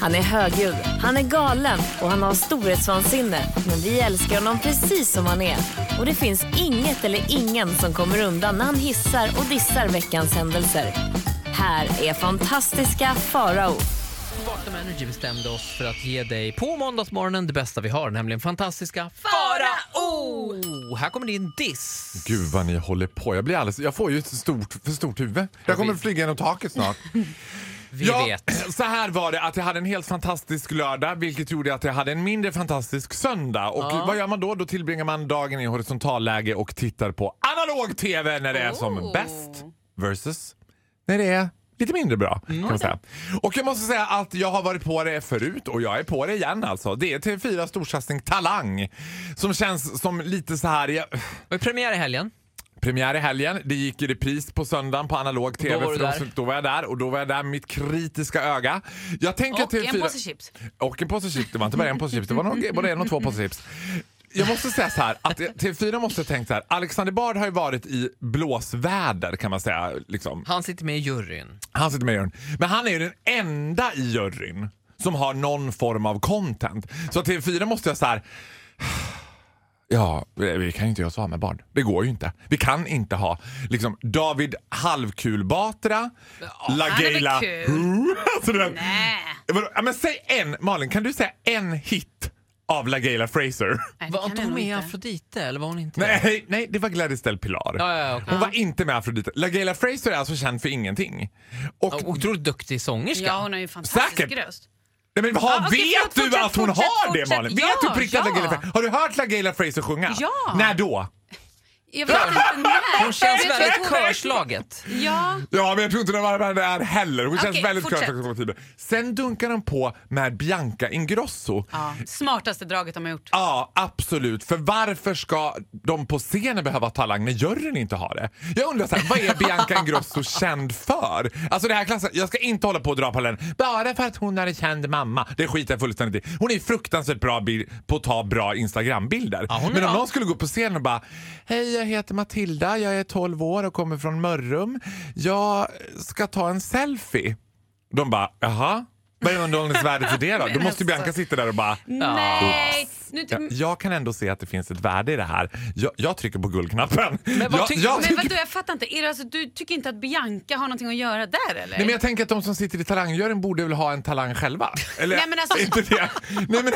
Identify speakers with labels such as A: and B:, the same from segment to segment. A: Han är högljudd, han är galen och han har storhetsvansinne. Men vi älskar honom precis som han är. Och det finns inget eller ingen som kommer undan när han hissar och dissar veckans händelser. Här är fantastiska Farao.
B: Vakna med Energy bestämde oss för att ge dig på måndagsmorgonen det bästa vi har, nämligen fantastiska Farao! Här kommer din diss.
C: Gud vad ni håller på. Jag, blir alldeles, jag får ju ett stort, för stort huvud. Jag kommer
B: vi-
C: flyga genom taket snart.
B: Vi vet.
C: Så här var det, att jag hade en helt fantastisk lördag vilket gjorde att jag hade en mindre fantastisk söndag. Och vad gör man då? Då tillbringar man dagen i horisontalläge och tittar på analog-TV när det är
B: Oh.
C: som bäst versus när det är lite mindre bra. Kan
B: Mm.
C: man säga. Och jag måste säga att jag har varit på det förut och jag är på det igen alltså. Det är TV4 storsatsning Talang som känns som lite så här... Jag,
B: Vi premiär i helgen.
C: Premiär i helgen. Det gick i repris på söndagen på analog tv.
B: Då var du
C: för de
B: där.
C: som- då var jag där och då var jag där med mitt kritiska öga. Jag tänker
D: Och
C: till
D: en
C: fyra-
D: påse chips.
C: Och en påse chips. Det var inte bara en påse chips, det var nog både en och två påse chips. Jag måste säga så här, att TV4 måste ha tänkt så här. Alexander Bard har ju varit i blåsväder kan man säga. Liksom.
B: Han sitter med i juryn.
C: Han sitter med i juryn. Men han är ju den enda i juryn som har någon form av content. Så TV4 måste jag så här... Ja, vi kan ju inte göra så med barn. Det går ju inte. Vi kan inte ha liksom David Halvkul Batra, LaGeila...
D: han är väl
C: Alltså, det där-
D: Nej.
C: Vadå? Ja, Men säg en, Malin, kan du säga en hit av LaGeila Fraser?
D: Nej, det
B: Var
D: kan
B: inte
D: jag
B: hon
D: nog
B: med i
D: inte.
B: Afrodite eller var hon inte det?
C: Nej, nej, det var Gladys Del Pilar.
B: Ja, ja, ja, okej.
C: Hon var inte med Afrodite. LaGeila Fraser är alltså känd för ingenting. Och
B: Ja, Otroligt duktig sångerska.
D: Ja, hon har ju en fantastisk
C: Säkert.
D: röst.
C: Nej, men har,
D: Ja, okej,
C: vet
D: förlåt,
C: du
D: fortsätt,
C: att hon
D: fortsätt,
C: har det
D: fortsätt.
C: Malin?
D: Ja,
C: vet du på riktigt att
D: ja.
C: LaGaylia Fraser? Har du hört LaGaylia Fraser sjunga?
D: Ja.
C: När då?
D: Jag vet inte när.
B: Hon känns
D: Jag tror
B: väldigt
D: att hon-
B: körslaget.
D: Ja,
C: Ja, men jag tror inte den var där heller. Hon känns
D: Okej,
C: väldigt
D: fortsätt.
C: körskompatibel. Sen dunkar de på med Bianca Ingrosso. Ja.
D: ja. Smartaste draget de har gjort.
C: absolut. För varför ska de på scenen behöva talang när juryn inte har det? Jag undrar så här, vad är Bianca Ingrosso känd för? Alltså det här klassen, jag ska inte hålla på och dra på den. Bara för att hon är en känd mamma. Det skiter jag fullständigt i. Hon är fruktansvärt bra bil- på att ta bra Instagrambilder.
B: Ja, hon är
C: Men om
B: bra.
C: någon skulle gå upp på scenen och bara Hej, jag heter Matilda, jag är 12 år och kommer från Mörrum. Jag ska ta en selfie. De bara, jaha? Vad är underhållningsvärdet för det då? Då måste ju Bianca
B: Alltså,
C: sitta där och bara
D: Nej! Nu,
C: Ja, jag kan ändå se att det finns ett värde i det här. Jag, jag trycker på guldknappen.
B: Men vad
C: jag,
B: tycker-
C: jag,
B: men
D: men vadå, jag fattar inte. Är det alltså, du tycker inte att Bianca har någonting att göra där eller?
C: Nej, men jag tänker att de som sitter i talangjuryn borde väl ha en talang själva? Eller,
D: Nej, men alltså-
C: inte det. Nej, men,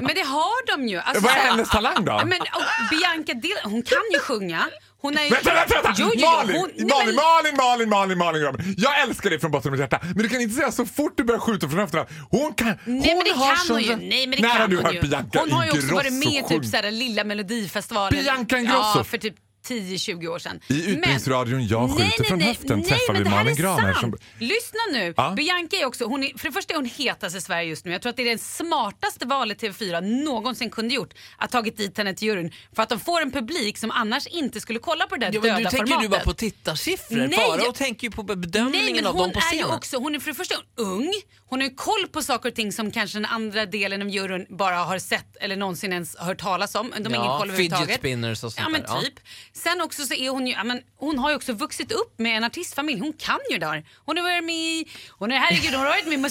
D: Men det har de ju. Alltså,
C: vad är hennes talang då?
D: Ja, men, och Bianca, Del- hon kan ju sjunga. Hon är ju...
C: Vänta, vänta, vänta!
D: Jo, jo, jo,
C: Malin,
D: hon- nej,
C: Malin,
D: men-
C: Malin, Malin, Malin, Malin, Malin. Jag älskar dig från botten av mitt hjärta. Men du kan inte säga så fort du börjar skjuta från höfterna. Hon kan... hon
D: Nej men det
C: har
D: kan
C: sån
D: hon ju.
C: röst.
D: Nej, men det
C: När
D: kan
C: har du
D: hon
C: hört
D: ju.
C: Bianca
D: Hon har ju också
C: Ingrosso
D: varit med i
C: sjunga?
D: typ så här, lilla melodifestivalen.
C: Bianca Ingrosso.
D: Ja, för typ 10-20 år sedan.
C: I Utbildningsradion Jag skjuter från höften
D: nej,
C: träffar
D: men
C: vi
D: det här
C: Malin
D: är
C: Graner
D: sant.
C: som-
D: Lyssna nu.
C: Ja.
D: Bianca är också, hon är, för det första är hon hetast i Sverige just nu. Jag tror att det är det smartaste valet TV4 någonsin kunde gjort. Att tagit dit henne till juryn. För att de får en publik som annars inte skulle kolla på det där
B: Ja,
D: döda
B: men nu tänker du
D: formatet.
B: bara på tittarsiffror.
D: Nej,
B: Farao
D: jag-
B: tänker ju på
D: Nej, men
B: bedömningen av
D: hon
B: dem på
D: är ju
B: scenen.
D: också, hon är för det första ung, hon har ju koll på saker och ting som kanske den andra delen av juryn bara har sett eller någonsin ens hört talas om. De har
B: Ja,
D: ingen koll
B: fidget
D: överhuvudtaget.
B: spinners och sånt
D: Ja men
B: där, ja.
D: typ. Sen också så är hon ju, ja, men, hon har ju också vuxit upp med en artistfamilj, hon kan ju där. Hon har varit med i, hon har, herregud hon har varit med i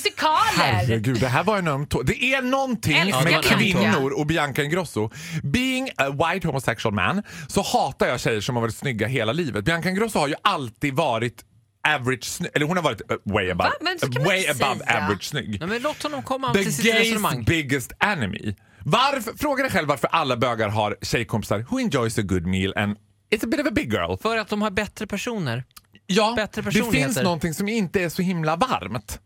D: musikaler.
C: Herregud, det här var en öm tå. Det är någonting
D: Älskar
C: med
B: Bianca.
C: kvinnor och Bianca Ingrosso. Being a white homosexual man så hatar jag tjejer som har varit snygga hela livet. Bianca Ingrosso har ju alltid varit average sny- Eller hon har varit eh, way above,
D: Va? Men så kan man
C: way
D: inte
C: above
D: säga.
C: average snygg.
B: Nej, men låt honom komma
C: The
B: till sitt
C: gays
B: resonemang.
C: biggest enemy. Varför, fråga dig själv varför alla bögar har tjejkompisar who enjoys a good meal and It's a bit of a big girl.
B: För att de har bättre personer.
C: Ja,
B: Bättre
C: det finns
B: personligheter.
C: någonting som inte är så himla varmt.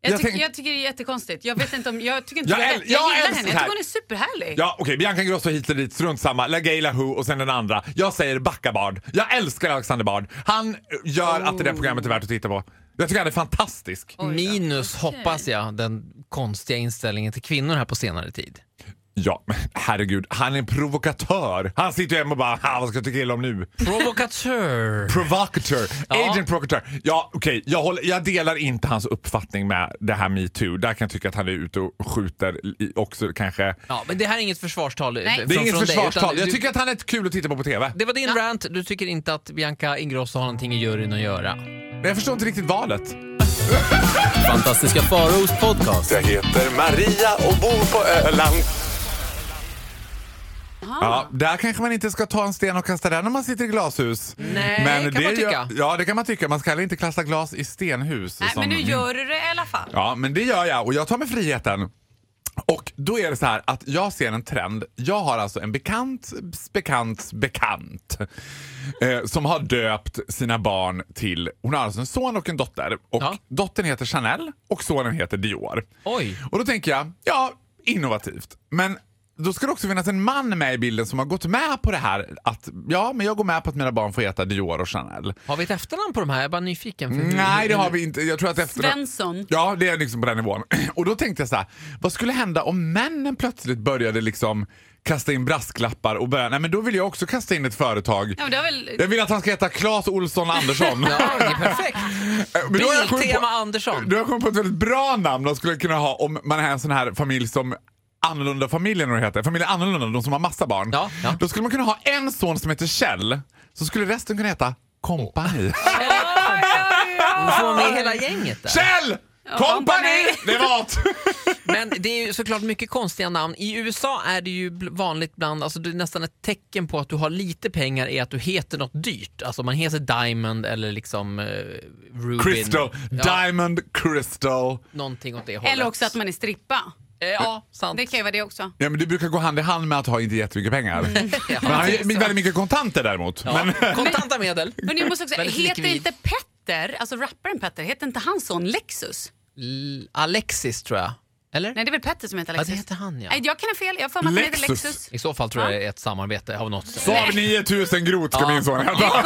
D: Jag,
C: jag
D: tyck,
C: tänk-
D: jag tycker det är jättekonstigt. Jag vet inte om, jag tycker inte
C: Jag
D: det är
C: äl-
D: rätt. Jag,
C: jag
D: gillar
C: älskar
D: henne,
C: det
D: jag
C: här.
D: tycker hon är superhärlig.
C: Ja, okej. Bianca Ingrosso hit eller dit, strunt samma. LaGaylia Who och sen den andra. Jag säger Backa Bard. Jag älskar Alexander Bard. Han gör att det där programmet är värt att titta på. Jag tycker han är fantastisk.
B: Mm. Minus, hoppas jag, den konstiga inställningen till kvinnor här på senare tid.
C: Ja, men herregud. Han är en provokatör. Han sitter ju hemma och bara, "Ha, vad ska jag tycka illa om nu?
B: Provokatör!
C: Provocateur.
B: Ja.
C: Agent provocateur. Ja, okej. Jag, håller- jag delar inte hans uppfattning med det här metoo. Där kan jag tycka att han är ute och skjuter i, också kanske.
B: Ja, men det här är inget försvarstal Nej.
D: Det är
C: Det är inget
B: från Dig,
C: försvarstal.
B: utan
C: Jag
B: du,
C: tycker att han är kul att titta på på TV.
B: det var din rant, du tycker inte att Bianca Ingrosso har någonting i juryn att göra.
C: Men jag förstår inte riktigt valet.
E: Fantastiska Faraos podcast.
F: Jag heter Maria och bor på Öland.
C: Ja, där kanske man inte ska ta en sten och kasta den om man sitter i glashus.
B: Nej, kan man
C: gör-
B: tycka.
C: Ja, det kan man tycka. Man ska heller inte klassa glas i stenhus.
D: Nej,
C: som
D: men nu
C: min-
D: gör du det i alla fall.
C: Ja, men det gör jag och jag tar mig friheten. Och då är det så här att jag ser en trend. Jag har alltså en bekant, bekant, bekant eh, som har döpt sina barn till... Hon har alltså en son och en dotter. Och
B: Ja.
C: Dottern heter Chanel och sonen heter Dior.
B: Oj.
C: Och då tänker jag, ja, innovativt. Men då ska det också finnas en man med i bilden som har gått med på det här att ja, men jag går med på att mina barn får heta Dior och Chanel.
B: Har vi ett efternamn på de här? Jag är bara nyfiken. För
C: Mm. Nej, det har vi inte. Jag tror att efter...
D: Svensson.
C: Ja, det är liksom på den nivån. Och då tänkte jag så här, vad skulle hända om männen plötsligt började liksom kasta in brasklappar och börja, nej men då vill jag också kasta in ett företag.
D: Ja, men det har väl...
C: Jag vill att han ska heta Claes Olsson Andersson.
B: Ja, det är perfekt.
C: Men då har jag kommit på-
B: Biltema Andersson.
C: Du har kommit på ett väldigt bra namn de skulle kunna ha om man är en sån här familj som Annorlunda familjen vad det heter. Familjen Annorlunda, de som har massa barn.
B: Ja, ja.
C: Då skulle man kunna ha en son som heter Kjell, så skulle resten kunna heta Kompani.
B: Du får med hela gänget där.
C: Kjell! Kompani!
D: Company!
C: Det var allt.
B: Men det är ju såklart mycket konstiga namn. I USA är det ju bl- vanligt bland, alltså det är nästan ett tecken på att du har lite pengar är att du heter något dyrt. Alltså man heter Diamond eller liksom eh, Rubin.
C: Crystal.
B: Ja,
C: Diamond Crystal.
B: någonting åt det hållet.
D: Eller också att man är strippa.
B: Eh, Ja, sant.
D: Det kan ju vara det också.
C: Ja, men det brukar gå hand i hand med att ha inte jättemycket pengar.
B: Mm. Ja,
C: Men han har ju
B: det är så.
C: väldigt mycket kontanter däremot.
B: Ja,
C: Men,
B: Kontanta medel.
D: Men du måste också
B: Väldigt
D: heter
B: likvid.
D: inte Petter, alltså rapparen Petter, heter inte hans son Lexus?
B: L- Alexis tror jag. Eller?
D: Nej, det är väl Petter som heter
B: Ja,
D: Lexus?
B: det heter han ja.
D: Nej, jag kan ha fel. Jag har för mig att han heter
C: Lexus.
D: Lexus.
B: I så fall tror jag det är ett samarbete av något.
C: Saab 9000 Groth ska
B: Ja.
C: min son heta.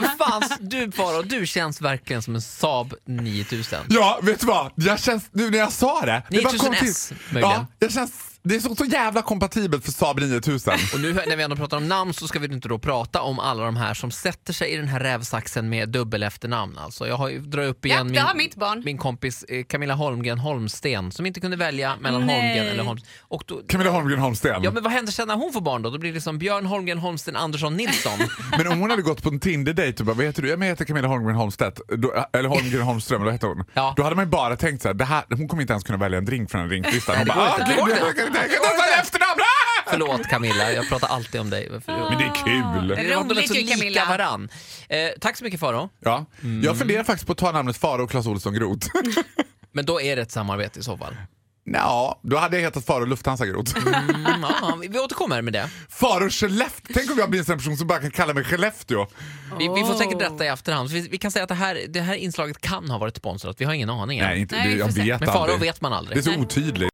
B: Men fan, du Faro, du känns verkligen som en Saab 9000.
C: Ja, vet du vad? Jag känns, nu när jag sa det. det bara kom
B: 9000
C: till.
B: S, möjligen.
C: ja, jag känns, Det är så, så jävla kompatibelt för Saab 9000.
B: Och nu när vi ändå pratar om namn så ska vi inte då prata om alla de här som sätter sig i den här rävsaxen med dubbel efternamn. Alltså jag har ju- drar upp
D: Japp,
B: igen
D: det
B: min,
D: har mitt barn.
B: min kompis eh, Camilla Holmgren Holmsten som inte kunde välja mellan
D: Nej.
B: Holmgren eller Holmsten. Och då,
C: Camilla Holmgren Holmsten.
B: ja men vad händer sen när hon får barn då? Då blir det liksom Björn Holmgren Holmsten Andersson Nilsson.
C: Men om hon hade gått på en Tinder-dejt och bara, vad heter du? Ja, men Jag heter Camilla Holmgren Holmstedt. Då, eller Holmgren Holmström, då heter hon.
B: Ja.
C: Då hade man ju bara tänkt så här, det här, hon kommer inte ens kunna välja en drink från en drinklista. Hon
B: det
C: bara,
B: går
C: ah,
B: inte.
C: gud,
B: Det går
C: jag kan inte tänka mig ett efternamn! Ah!
B: Förlåt Camilla, jag pratar alltid om dig. Förlåt.
C: Men det är kul.
B: Det var- de är
D: Roligt
B: så
D: ju,
B: lika
D: Camilla.
B: Varann. Eh, tack så mycket Faro.
C: Ja. Jag funderar faktiskt på att ta namnet Faro och Clas Ohlson Groth.
B: Men då är det ett samarbete i så fall.
C: Ja, då hade jag hetat Faro Lufthansa Groth.
B: Mm, ja, vi vi återkommer med det.
C: Faro Skellefteå. Tänk om jag blir en sån person som bara kan kalla mig Skellefteå.
B: Vi, vi får säkert rätta i efterhand. Så Vi, vi kan säga att det här, det här inslaget kan ha varit sponsrat. Vi har ingen aning än.
C: Nej, inte,
D: Nej,
C: det,
D: vi
C: jag
D: får se.
C: vet
B: Men Faro
C: aldrig.
B: vet man
C: Det är
B: aldrig.
C: så otydligt.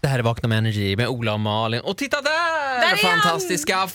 B: Det här är Vakna med Energy med Ola och Malin. Och titta där!
D: Där är han!
B: Fantastiska Farao!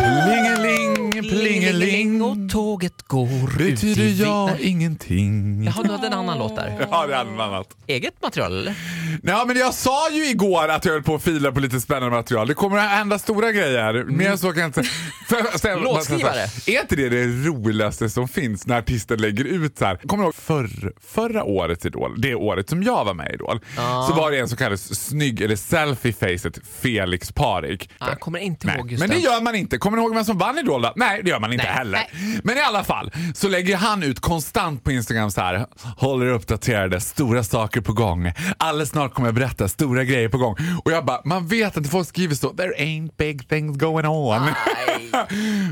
D: Farao!
C: Plingeling,
B: Och
C: plingeling.
B: tåget går ut
C: Betyder
B: i vi-
C: jag
B: Nej,
C: ingenting?
B: Jaha, du hade en annan låt där.
C: Ja, det är något annat.
B: Eget material eller?
C: Nej, men jag sa ju igår att jag höll på att fila på lite spännande material. Det kommer att hända stora grejer. Mer än så kan jag inte... För- ställa-
B: Låtskrivare.
C: Är inte det det roligaste som finns när artister lägger ut så här? Kommer du ihåg förr, förra årets Idol? Det året som jag var med i Idol. Så var det en som kallades snygg, eller selfie-facet, Felix Parik.
B: Ah, jag kommer inte
C: Nej,
B: ihåg just
C: men det
B: den.
C: gör man inte. Kommer ni ihåg vem som vann Idol då? Nej, det gör man inte
B: Nej.
C: heller. Men i alla fall så lägger han ut konstant på Instagram så här. Håll er uppdaterade, stora saker på gång. Alldeles snart kommer jag berätta, stora grejer på gång. Och jag bara, man vet att folk skriver så. There ain't big things going on.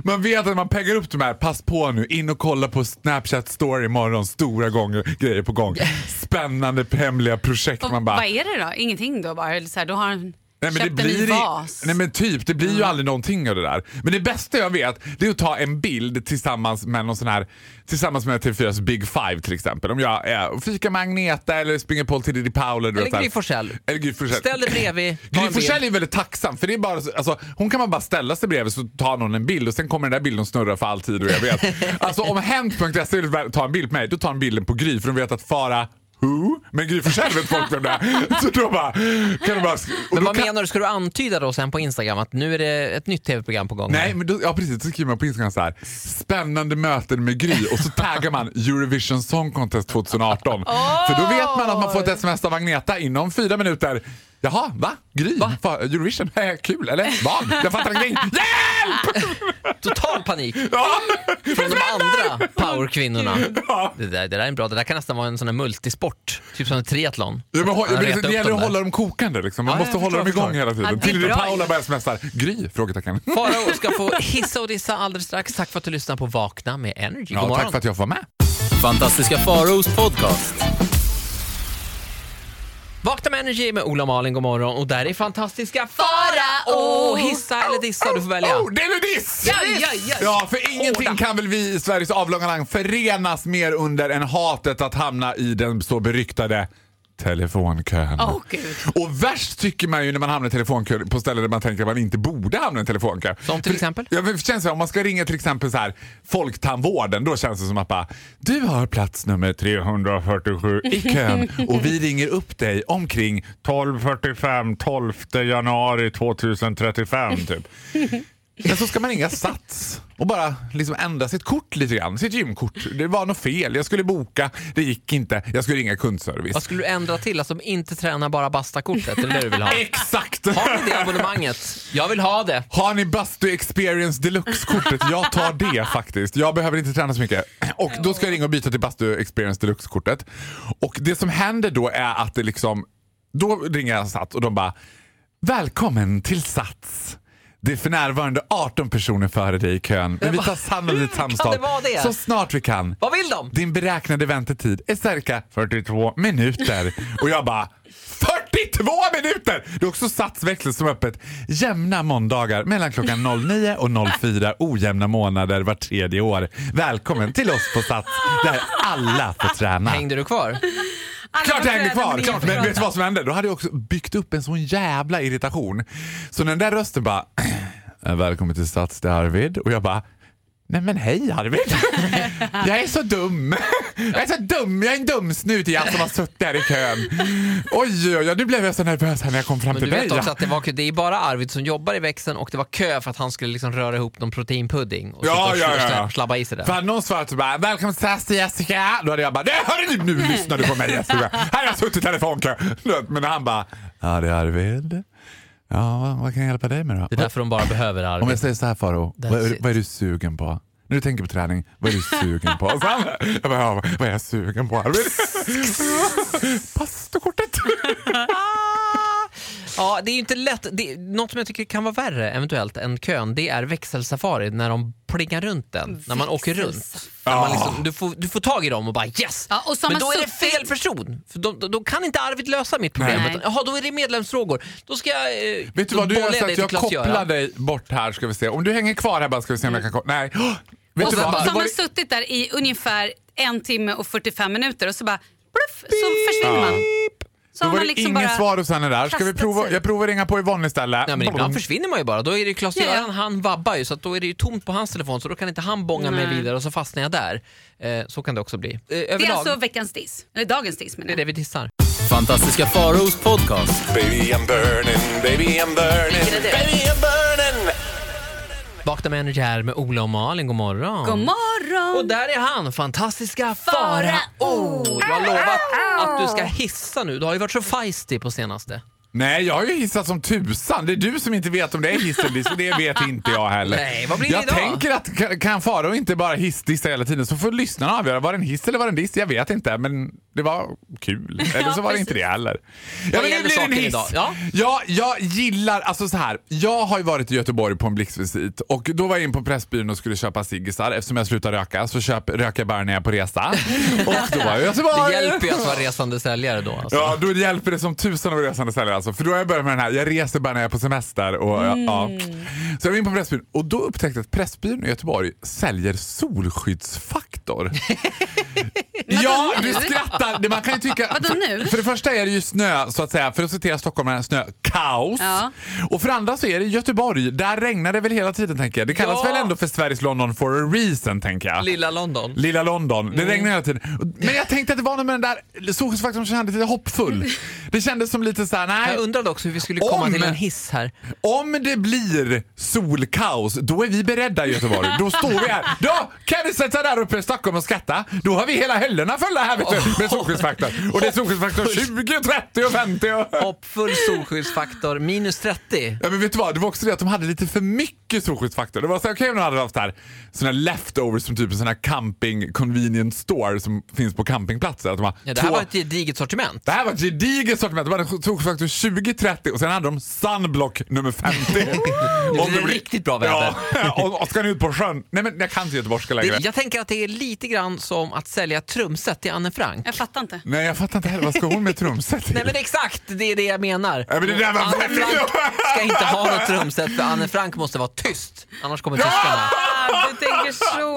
C: man vet att man peggar upp de här, pass på nu, in och kolla på Snapchat story imorgon, stora gånger, grejer på gång. Spännande hemliga projekt.
D: Och
C: man bara,
D: Vad är det då? Ingenting då bara? Eller så här, då har han
C: Nej, men
D: köpt
C: det blir
D: en ny
C: i-
D: vas?
C: Nej men typ, det blir
B: Mm.
C: ju aldrig någonting av det där. Men det bästa jag vet det är att ta en bild tillsammans med någon sån här, tillsammans med TV4s Big Five till exempel. Om jag är och fikar med Agneta eller springer på till Diddy Powell. du vet så
B: Eller
C: här.
B: Gry Forssell.
C: Eller Gry Forssell.
B: Ställ dig bredvid. ta
C: Gry
B: en bild.
C: Forssell är väldigt tacksam för det är bara, så- alltså, hon kan man bara ställa sig bredvid så tar någon en bild och sen kommer den där bilden snurra för all tid och jag vet. alltså om Hent.se vill ta en bild på mig då tar de bilden på Gry för de vet att fara Who? Men Gry Forssell vet folk vem det är. Så då bara, kan de bara, sk- och
B: Men
C: då
B: vad
C: kan,
B: menar du? Ska du antyda då sen på Instagram att nu är det ett nytt tv-program på gång?
C: Nej, men då, ja, precis. Då skriver man på Instagram så här. Spännande möten med Gry och så taggar man Eurovision Song Contest 2018. För då vet man att man får ett sms av Agneta inom fyra minuter. Jaha, va? Gry? Va? Eurovision? Eh, Kul, eller? Barn? Jag fattar ingenting. Hjälp!
B: Total panik
C: Ja.
B: från de andra powerkvinnorna. Det där, det där är en bra, det där kan nästan vara en sån här multisport, typ som en triathlon.
C: Ja, men, hå-
B: Man
C: men det,
B: retar
C: det
B: upp
C: gäller
B: dem
C: att
B: där.
C: hålla dem kokande. Liksom. Man
B: Ja,
C: måste
B: jag
C: hålla dem
B: förstår,
C: igång hela
D: Ja,
C: tiden.
D: det är
C: Till
D: bra
C: Paula
D: ju.
C: börjar smsar. Gry? Frågetecken.
B: Farao ska få hissa och dissa alldeles strax. Tack för att du lyssnar på Vakna med Energy. God
C: Ja,
B: morgon.
C: tack för att jag får vara med.
E: Fantastiska Faraos podcast.
B: Vakna med Energy med Ola och Malin, god morgon. Och där är fantastiska Farao! hissa eller dissa, du får välja.
C: Oh, det är nu diss!
D: Ja, ja, ja.
C: Ja, för ingenting kan väl vi i Sveriges avlånga land förenas mer under än hatet att hamna i den så beryktade telefonkön.
D: Åh gud.
C: Och värst tycker man ju när man hamnar i telefonkö på ställen där man tänker att man inte borde hamna i en telefonkö.
B: Som till
C: För-
B: exempel?
C: Ja, men det känns så här, om man ska ringa till exempel så här, Folktandvården, då känns det som att bara, du har plats nummer 347 i kön och vi ringer upp dig omkring 12.45 12 januari 2035 typ. Men så ska man ringa Sats och bara liksom ändra sitt kort lite grann, sitt gymkort. Det var något fel, jag skulle boka, det gick inte, jag skulle ringa kundservice.
B: Vad skulle du ändra till? Alltså inte träna bara bastakortet, eller det du vill ha?
C: Exakt!
B: Har ni det abonnemanget? Jag vill ha det.
C: Har ni Bastu Experience Deluxe-kortet? Jag tar det faktiskt. Jag behöver inte träna så mycket. Och då ska jag ringa och byta till Bastu Experience Deluxe-kortet. Och det som händer då är att det liksom... Då ringer jag Sats och de bara Välkommen till Sats. Det är för närvarande 18 personer före dig i kön, men vi tar sannolikt
B: kan
C: samtal
B: det vara det?
C: så snart vi kan.
B: Vad vill de?
C: Din beräknade väntetid är cirka 42 minuter. Och jag bara 42 minuter! Det är också satsväxel som är öppet jämna måndagar mellan klockan 09 och 04 ojämna månader var tredje år. Välkommen till oss på Sats där alla får träna.
B: Hängde du kvar?
D: Alla
C: Klart
D: de
C: jag hängde
D: träden
C: kvar!
D: med
C: Klart. Men vet du vad som hände? Då hade jag också byggt upp en sån jävla irritation. Så den där rösten bara "Äh, Välkommen till Stats, det är Arvid. Och jag bara Nej men hej Arvid! Jag är så dum! Jag är så dum, jag är en dum snut i allt som har suttit där i kön. Oj, oj, oj, nu blev jag så nervös här när jag kom fram
B: Men
C: till
B: du
C: dig.
B: vet också att det, var, kö- det är bara Arvid som jobbar i växeln och det var kö för att han skulle liksom röra ihop någon proteinpudding och, sitta
C: Ja,
B: och
C: ja,
B: sl-
C: ja.
B: sl- slabba i sig det.
C: För hade någon svarat så bara “Välkommen till SAS till Jessica”. Då hade jag bara "Nej, hörru, nu, nu lyssnar du på mig Jessica. Här har jag suttit i telefonkö. Du vet, Men han bara “Ja det är Arvid. Ja, vad, vad kan jag hjälpa dig med då?”
B: Det är därför de bara behöver
C: Om jag
B: Arvid.
C: säger så här Faro, vad, är-
B: it.
C: vad är du sugen på? När du tänker på träning, vad är du sugen på? Och sen, jag bara, ja, vad är jag sugen på Arvid? Pastokortet!
B: Ah! Ja, det är ju inte lätt. Det, något som jag tycker kan vara värre eventuellt än kön, det är växelsafari när de plingar runt den. När man åker runt. När man liksom, du, får, du får tag i dem och bara yes!
D: Ja, och så har
B: Men
D: man
B: då är det
D: suttit-
B: fel person. För då, då, då kan inte Arvid lösa mitt problem.
D: Nej.
B: Utan, Jaha, då är det medlemsfrågor. Då ska jag... Eh,
C: Vet du
B: då
C: vad, du
B: bollar
C: gör så
B: dig
C: att
B: till
C: jag
B: Klas-Göran.
C: kopplar dig bort här ska vi se. Om du hänger kvar här bara ska vi se om jag kan koppla. Nej. Oh, vet
D: Och
C: du
D: så,
C: vad?
D: så
C: Det
D: har
C: var-
D: man suttit där i ungefär en timme och 45 minuter och så bara pluff, så försvinner man. Så
C: Då var
D: har man
C: det
D: liksom
C: ingen
D: bara...
C: svar hos henne där. Ska vi
D: kastat
C: prova?
D: sig.
C: Jag provar ringa på Yvonne istället.
B: Nej, men ibland försvinner man ju bara. Då är det Klas-Göran,
D: Mm. Ja, ja.
B: han vabbar ju så att då är det ju tomt på hans telefon så då kan inte han bånga mig
D: Nej.
B: vidare och så fastnar jag där. Eh, så kan det också bli. Eh,
D: Det
B: överlag,
D: är alltså veckans diss. Eller dagens diss menar
B: det är
D: jag.
B: det vi dissar.
E: Fantastiska Faraos podcast.
F: Baby I'm burning, baby I'm burning,
D: Vilken är det?
F: baby I'm burning.
B: Vakna med Energy här med Ola och Malin, god morgon.
D: God morgon!
B: Och där är han, fantastiska Farao! Du har lovat att du ska hissa nu. Du har ju varit så feisty på senaste.
C: Nej, jag har ju hissat som tusan. Det är du som inte vet om det är hiss eller diss och det vet inte jag heller.
B: Nej, vad blir det
C: jag
B: idag?
C: tänker att kan- kan Farao inte bara hissdissa hela tiden så får lyssnarna avgöra. Var det en hiss eller var det en diss? Jag vet inte, men det var kul. Eller så var det inte det heller. Ja, men
B: gäller
C: nu blir det en
B: saken
C: hiss.
B: idag? Ja.
C: Ja, jag gillar, alltså så här. Jag har ju varit i Göteborg på en blixtvisit och då var jag in på Pressbyrån och skulle köpa ciggisar. Eftersom jag slutar röka så köp, röker jag bara när jag är på resa. Och då var jag i Göteborg.
B: Det hjälper ju att vara resande säljare då. Alltså.
C: Ja, då hjälper det som tusan att vara resande säljare alltså. För då har jag börjat med den här, jag reser bara när jag är på semester. Och, ja.
D: Mm.
C: Så jag var in på Pressbyrån och då upptäckte jag att Pressbyrån i Göteborg säljer solskyddsfaktor. ja, du skrattar. Det- Man kan ju tycka...
D: Vadå nu?
C: För det första är det ju snö, så att säga, för att citera stockholmare, snö, kaos.
D: Ja.
C: Och för det andra så är det Göteborg, där regnar det väl hela tiden tänker jag. Det kallas
B: Ja.
C: väl ändå för Sveriges London for a reason tänker jag.
B: Lilla London.
C: Lilla London.
B: Mm.
C: Det regnar hela tiden. Men jag tänkte att det var något med den där solskyddsfaktorn som kändes lite hoppfull. Det kändes som lite så här, nej.
B: Jag undrade också hur vi skulle komma
C: Om-
B: till en hiss här.
C: Om det blir solkaos, då är vi beredda i Göteborg. Då står vi här. Då kan ni sätta där uppe i Stockholm och skratta. Då har vi hela hyllorna fulla här vet du, med solskyddsfaktor. Och det är solskyddsfaktor 20, 30 och 50. Och...
B: Hoppfull solskyddsfaktor, minus 30.
C: Ja, men vet du vad? Det var också det att de hade lite för mycket solskyddsfaktor. Det var så här, okej om de hade haft så här, såna leftovers som typ en sån här camping convenience store som finns på campingplatser. Att de har
B: Ja, det här
C: två...
B: var ett gediget sortiment.
C: det här var ett gediget sortiment. De hade solskyddsfaktor 20, 30 och sen hade de sunblock nummer 50.
B: Det
C: Om
B: blir riktigt bra väder.
C: Ja, och, och ska ni ut på sjön? Nej men jag kan inte göteborgska längre.
B: Det, jag tänker att det är lite grann som att sälja trumset till Anne Frank.
D: Jag fattar inte.
C: Nej jag fattar inte heller, vad ska hon med trumset till?
B: Nej men exakt, det är det jag menar.
C: Ja, men det där var
B: Anne
C: väldigt-
B: Frank ska inte ha något trumset för Anne Frank måste vara tyst, annars kommer tyskarna.
D: Ah, du tänker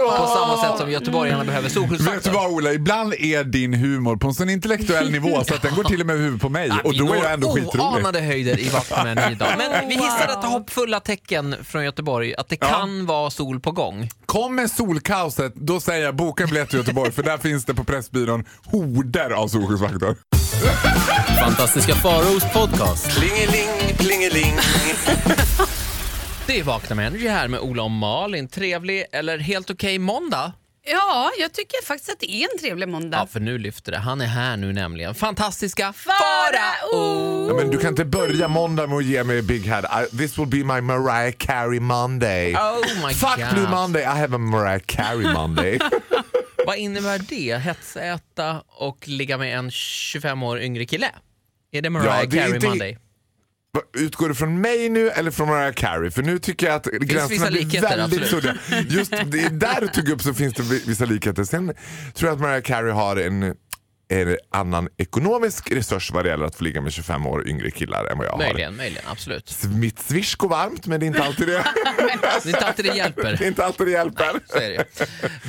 B: På
D: så.
B: samma sätt som göteborgarna behöver
C: Vet du
B: solskyddsfaktor.
C: vad Ola, ibland är din humor på en sån intellektuell nivå så att den går till och med över huvudet på mig
B: Ja,
C: och
B: vi
C: då är
B: når
C: jag ändå skitrolig.
B: oanade höjder i Vakna med en ny dag. Men vi hissar detta hoppfulla tecken från Göteborg att det kan vara sol på gång.
C: Kommer solkaoset, då säger jag boka en biljett till Göteborg för där finns det på Pressbyrån horder av solskyddsfaktor.
E: Fantastiska Faraos podcast.
F: Plingeling, plingeling.
B: Det är Vakna med Energy här med Ola och Malin. Trevlig eller helt okej måndag?
D: Ja, jag tycker faktiskt att det är en trevlig måndag.
B: Ja, för nu lyfter det. Han är här nu nämligen. Fantastiska
D: Farao!
B: Farao!
C: Ja, men du kan inte börja måndag med att ge mig Big Head. I, this will be my Mariah Carey Monday.
B: Oh my
C: Fuck
B: God.
C: Blue Monday, I have a Mariah Carey Monday.
B: Vad innebär det? Hetsäta och ligga med en 25 år yngre kille? Är det Mariah
C: Ja, det är
B: Carey
C: inte-
B: Monday?
C: Va, Utgår det från mig nu eller från Mariah Carey? För nu tycker jag att gränserna
B: vissa
C: blir
B: likheter,
C: väldigt
B: absolut.
C: suddiga. Just det, där du tog upp så finns det vi- vissa likheter. Sen tror jag att Mariah Carey har en, en annan ekonomisk resurs vad det gäller att få ligga med 25 år yngre killar än vad jag
B: Möjligen, möjligen, absolut.
C: har. Mitt swish går varmt men det är inte alltid det,
B: Det är inte alltid det
C: det, är
B: hjälper.
C: inte alltid det hjälper.
B: Så är det. ju.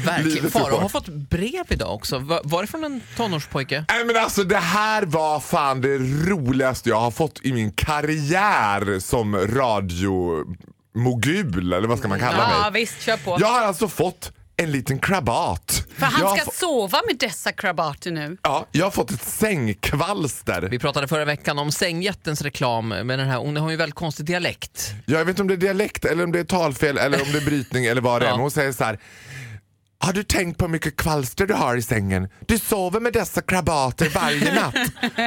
B: Verkligen.
C: Livet är
B: Farao har
C: hårt.
B: fått brev idag också. Va- Var det från en tonårspojke?
C: Nej men alltså det här var fan det roligaste jag har fått i min karriär som radiomogul eller vad ska man kalla mig?
D: Ja, visst, kör på.
C: Jag har alltså fått en liten krabat.
D: För
C: jag,
D: han
C: har
D: ska
C: få-
D: sova med dessa krabater nu.
C: ja, jag har fått ett sängkvalster.
B: Vi pratade förra veckan om sängjättens reklam med den här, hon har ju en väldigt konstig dialekt.
C: Jag vet inte om det är dialekt, eller om det är talfel, eller om det är brytning eller vad det är.
B: Ja.
C: Men hon säger så här. Har du tänkt på hur mycket kvalster du har i sängen? Du sover med dessa krabater varje natt.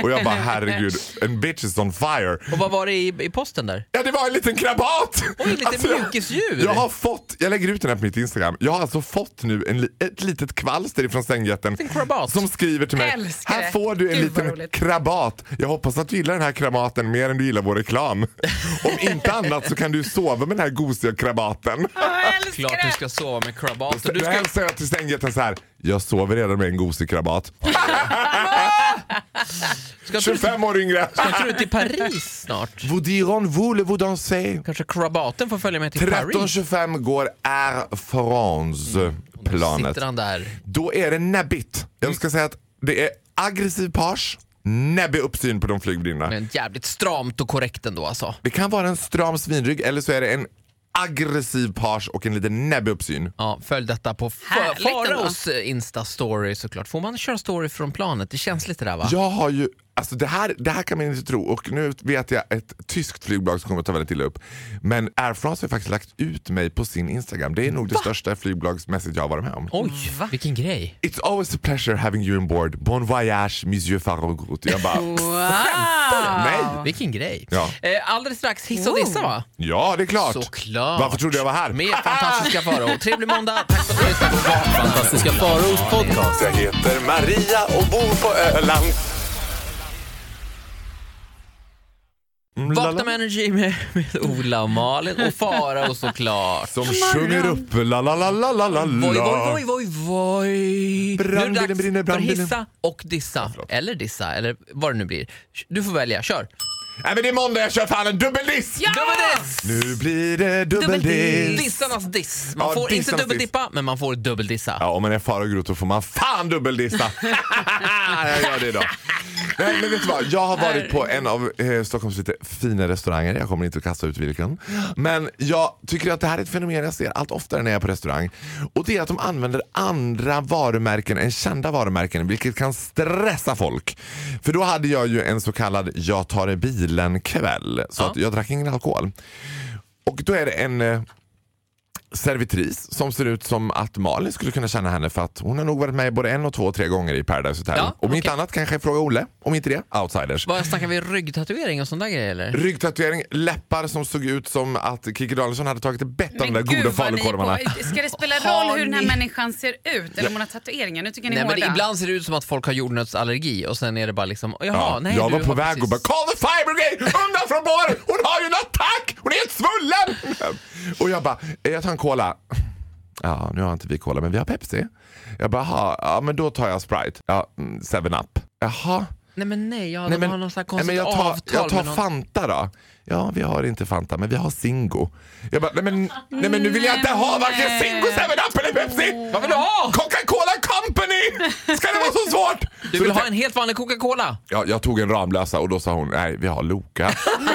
C: Och jag bara herregud, en bitch is on fire.
B: Och vad var det i, i posten där?
C: Ja det var en liten krabat! Alltså,
B: Oj, lite
C: jag-
B: mjukisdjur.
C: Jag har fått, jag lägger ut den här på mitt Instagram, jag har alltså fått nu en, li- ett litet kvalster ifrån sängjätten
B: En krabat.
C: som skriver till mig.
D: Älskar
C: här
D: det.
C: får du en
D: Gud, vad
C: liten
D: roligt."
C: krabat. Jag hoppas att du gillar den här krabaten mer än du gillar vår reklam. Om inte annat så kan du sova med den här gosiga krabaten.
D: Jag älskar
B: Klart du
D: det!
B: ska sova med krabat. Och
C: Du
B: du
C: ska...
B: ska,
C: hälsar jag till sängjätten så här. jag sover redan med en gosig krabat.
B: ska, ska,
C: 25 år yngre.
B: ska du till Paris snart?
C: Vous diront, vous le vous dansez.
B: Kanske krabaten får följa med till Paris?
C: 13.25 går Air France planet.
B: Mm. Sitter han där.
C: Då är det näbbigt. Jag ska säga att det är aggressiv page, näbbig uppsyn på de flygvärdinnorna.
B: Men jävligt stramt och korrekt ändå alltså.
C: Det kan vara en stram svinrygg eller så är det en aggressiv page och en liten näbbig uppsyn.
B: Ja, följ detta på Fa-
D: Härligt ändå.
B: Faraos Insta-story såklart. Får man köra story från planet? Det känns lite där va?
C: Jag har ju, alltså det här, det här kan man inte tro och nu vet jag ett tyskt flygbolag som kommer att ta väldigt illa upp. Men Air France har faktiskt lagt ut mig på sin Instagram. Det är nog det största flygbolagsmässigt jag har varit med om.
B: Oj, vilken grej.
C: It's always a pleasure having you on board. Bon voyage, monsieur Farrogout. Jag bara,
D: Wow!
C: nej!
B: Vilken grej.
C: Ja.
B: Eh, alldeles strax hiss och dissa va?
C: Ja, det är klart.
B: Såklart.
C: Varför trodde jag var här?
B: Med fantastiska Farao. Trevlig måndag. Tack för att du lyssnade på Vakna.
E: Fantastiska Faraos podcast.
F: Jag heter Maria och bor på Öland.
C: Mm,
B: Vakna med Energy med, med Ola och Malin och Farao såklart.
C: Som sjunger upp la la la la la la
B: Voj, voj,
C: la.
B: voj, voj, voj.
C: Brandbilen
B: nu är det dags
C: brinner,
B: för
C: brandbilen.
B: hissa och dissa. Eller dissa, eller vad det nu blir. Du får välja, kör.
C: Nej men det är måndag, jag kör fan en dubbeldiss!
D: Ja!
B: Dubbeldiss!
C: Nu blir det dubbeldiss.
B: Dissarnas diss. Man
C: Ja,
B: får inte
C: dissarnas
B: dubbeldippa, men man får dubbeldissa.
C: Ja, om man är far och grot då får man fan dubbeldissa. jag gör det idag. Nej, men vet du vad? Jag har varit på en av eh, Stockholms lite fina restauranger. Jag kommer inte att kasta ut vilken. Men jag tycker att det här är ett fenomen jag ser allt oftare när jag är på restaurang. Och det är att de använder andra varumärken än kända varumärken vilket kan stressa folk. För då hade jag ju en så kallad jag tar bilen kväll. Så att jag drack ingen alkohol. Och då är det en eh, servitris som ser ut som att Malin skulle kunna känna henne för att hon har nog varit med både en och två, tre gånger i Paradise Hotel.
B: Ja,
C: Om inte
B: okej.
C: annat kanske Fråga Olle, om inte det, Outsiders.
B: Vad snackar vi ryggtatuering och sådana där grejer eller?
C: Ryggtatuering, läppar som såg ut som att Kiki Danielsson hade tagit ett bett om de där
D: Men gud
C: goda
D: vad ni är
C: falukorvarna.
D: på. Ska det spela
B: Har
D: roll hur den här
B: ni-
D: människan ser ut? Eller om hon har tatueringar? Nu tycker jag ni
B: Nej
D: är
B: men
D: hårda.
B: ibland ser det ut som att folk har jordnötsallergi och sen är det bara liksom, jaha,
C: Ja,
B: nej
C: jag
B: du
C: var på
B: har
C: väg och bara
B: precis-
C: “Call the fire brigade! Undan från båren! Hon har ju en attack! Hon är helt svullen!” Och jag bara “Eh, “Jag tar en cola”. Ja, nu har inte vi cola, men vi har Pepsi. Jag bara “Jaha, ja men då tar jag Sprite. Ja, mm, Seven up Jaha.
B: Nej men nej, ja,
C: Nej,
B: de har någon sån här
C: nej,
B: konstigt
C: men jag tar,
B: avtal
C: jag tar
B: med någon.
C: Fanta då. Ja, vi har inte Fanta, men vi har Zingo. Jag bara, nej men, nej, men nu vill jag inte ha varken
D: Nej.
C: Zingo, Seven up eller Pepsi! Vad vill du ha? Coca-Cola Company! Ska det vara så svårt?
B: Du
C: Så
B: vill
C: då-
B: ha en helt vanlig Coca-Cola?
C: Ja, jag tog en Ramlösa och då sa hon nej, vi har Loka.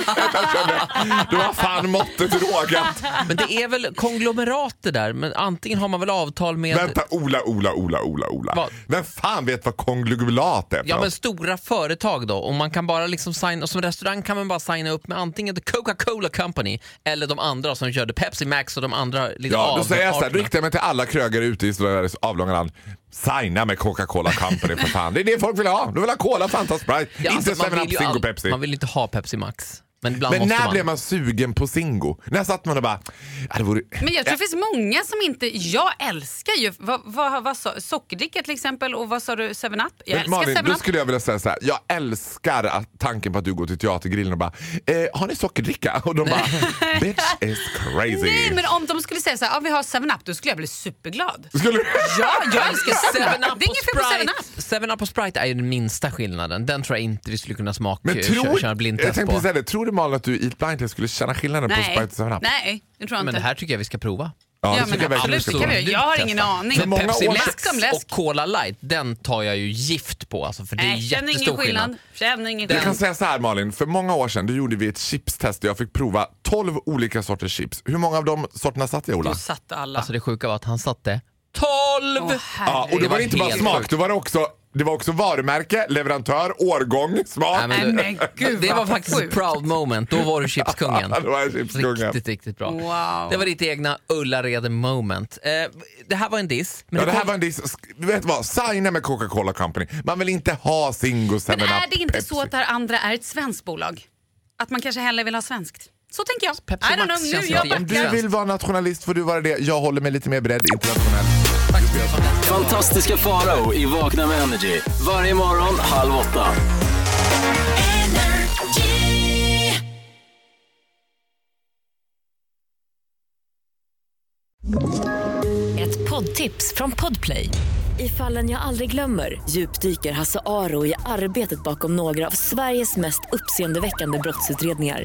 C: jag kände, det var fan måttet rågat.
B: Men det är väl konglomerat det där, men antingen har man väl avtal med
C: Vänta, Ola, Ola, Ola, Ola, Ola.
B: Vad?
C: Vem fan vet vad konglomerat är för
B: Ja men
C: något?
B: stora företag då och man kan bara liksom signa, och som restaurang kan man bara signa upp med antingen The Coca-Cola Company eller de andra som körde Pepsi Max och de andra liksom
C: Ja, då
B: av-
C: säger jag så här, då
B: arterna.
C: riktar jag mig till alla krögare ute i Sveriges avlånga land. Signa med Coca-Cola Company för fan. Det är det folk vill ha. De vill ha Cola, Fanta, Sprite.
B: Ja,
C: inte
B: alltså, man
C: 7-Up,
B: vill ju
C: Zingo,
B: all-
C: Pepsi.
B: Man vill inte ha Pepsi Max. Men ibland
C: Men
B: måste
C: när
B: man.
C: blev man sugen på Zingo? När satt man och bara, ja, det vore...
D: Men jag tror det finns många som inte... Jag älskar ju vad, vad, vad, sa- sockerdricka till exempel och vad sa du, 7-Up? Jag
C: Men
D: älskar
C: Malin,
D: 7-Up.
C: då skulle jag vilja säga så här. Jag älskar att tanken på att du går till teatergrillen och bara eh, “Har ni sockerdricka?” och de bara “Bitch is crazy”.
D: Nej, men om de skulle säga så här, ja, vi har 7-Up, då skulle jag bli superglad.
C: Skulle...
D: Ja, jag älskar 7-Up.
B: Seven-Up
D: Det är
B: och
D: inget fel på 7-Up.
B: Sprite. Seven up och Sprite är ju den minsta skillnaden. Den tror jag inte vi skulle kunna smaka
C: Men tror,
B: köra
C: jag
B: blindtest
C: tänkte
B: på.
C: precis säga det, tror du Malin att du i ett blindtest skulle känna skillnaden på
D: Nej,
C: Sprite och 7-Up?
D: nej, det tror jag inte.
B: Men det här tycker jag vi ska prova.
C: Ja,
D: ja,
C: det
D: men
C: tycker jag verkligen vi
D: absolut,
C: ska
D: det kan
C: prova.
D: vi göra. Jag har ingen
B: Testa.
D: aning.
C: För många
B: Pepsi
C: år
B: Max
D: Läsk om läsk.
B: och Cola Light, den tar jag ju gift på alltså, för det är
D: Nej, känner
B: jättestor
D: ingen
B: skillnad.
D: skillnad. Känner ingen
C: Jag kan
D: skillnad.
C: säga så här Malin, för många år sedan då gjorde vi ett chipstest där jag fick prova 12 olika sorters chips. Hur många av de sorterna satt jag Ola?
D: Du satte alla.
B: Alltså det sjuka var att han satte 12!
D: Åh,
C: Ja, och då
B: det
C: var
B: var
C: det inte bara
B: helt
C: smak,
B: sjukt.
C: då var det också, det var också varumärke, leverantör, årgång, smak.
B: Nej, men
D: Nej, men gud,
B: det var
D: vad
B: faktiskt ett
D: sjukt.
B: proud moment. Då var du chipskungen. Alltså,
C: Då var jag chipskungen.
B: Riktigt, riktigt bra.
D: Wow.
B: Det var ditt egna Ullared moment. Eh, det här var en diss. Men
C: Ja,
B: det
C: det här
B: kom-
C: var en diss. Du vet vad? Signa med Coca-Cola Company. Man vill inte ha Zingo, 7
D: Men är det inte så att det här andra är ett svenskt bolag? Att man kanske hellre vill ha svenskt? Så tänker jag.
B: Pepsi
D: I don't
B: Max känns
D: know, nu
B: inte
D: jag
B: jätte-
C: Om du
D: backar.
C: vill vara nationalist får du vara det. Jag håller mig lite mer bredd internationellt.
E: Fantastiska Farao i Vakna med Energy. Varje morgon halv åtta.
A: Ett poddtips från Podplay. I fallen jag aldrig glömmer djupdyker Hasse Aro i arbetet bakom några av Sveriges mest uppseendeväckande brottsutredningar.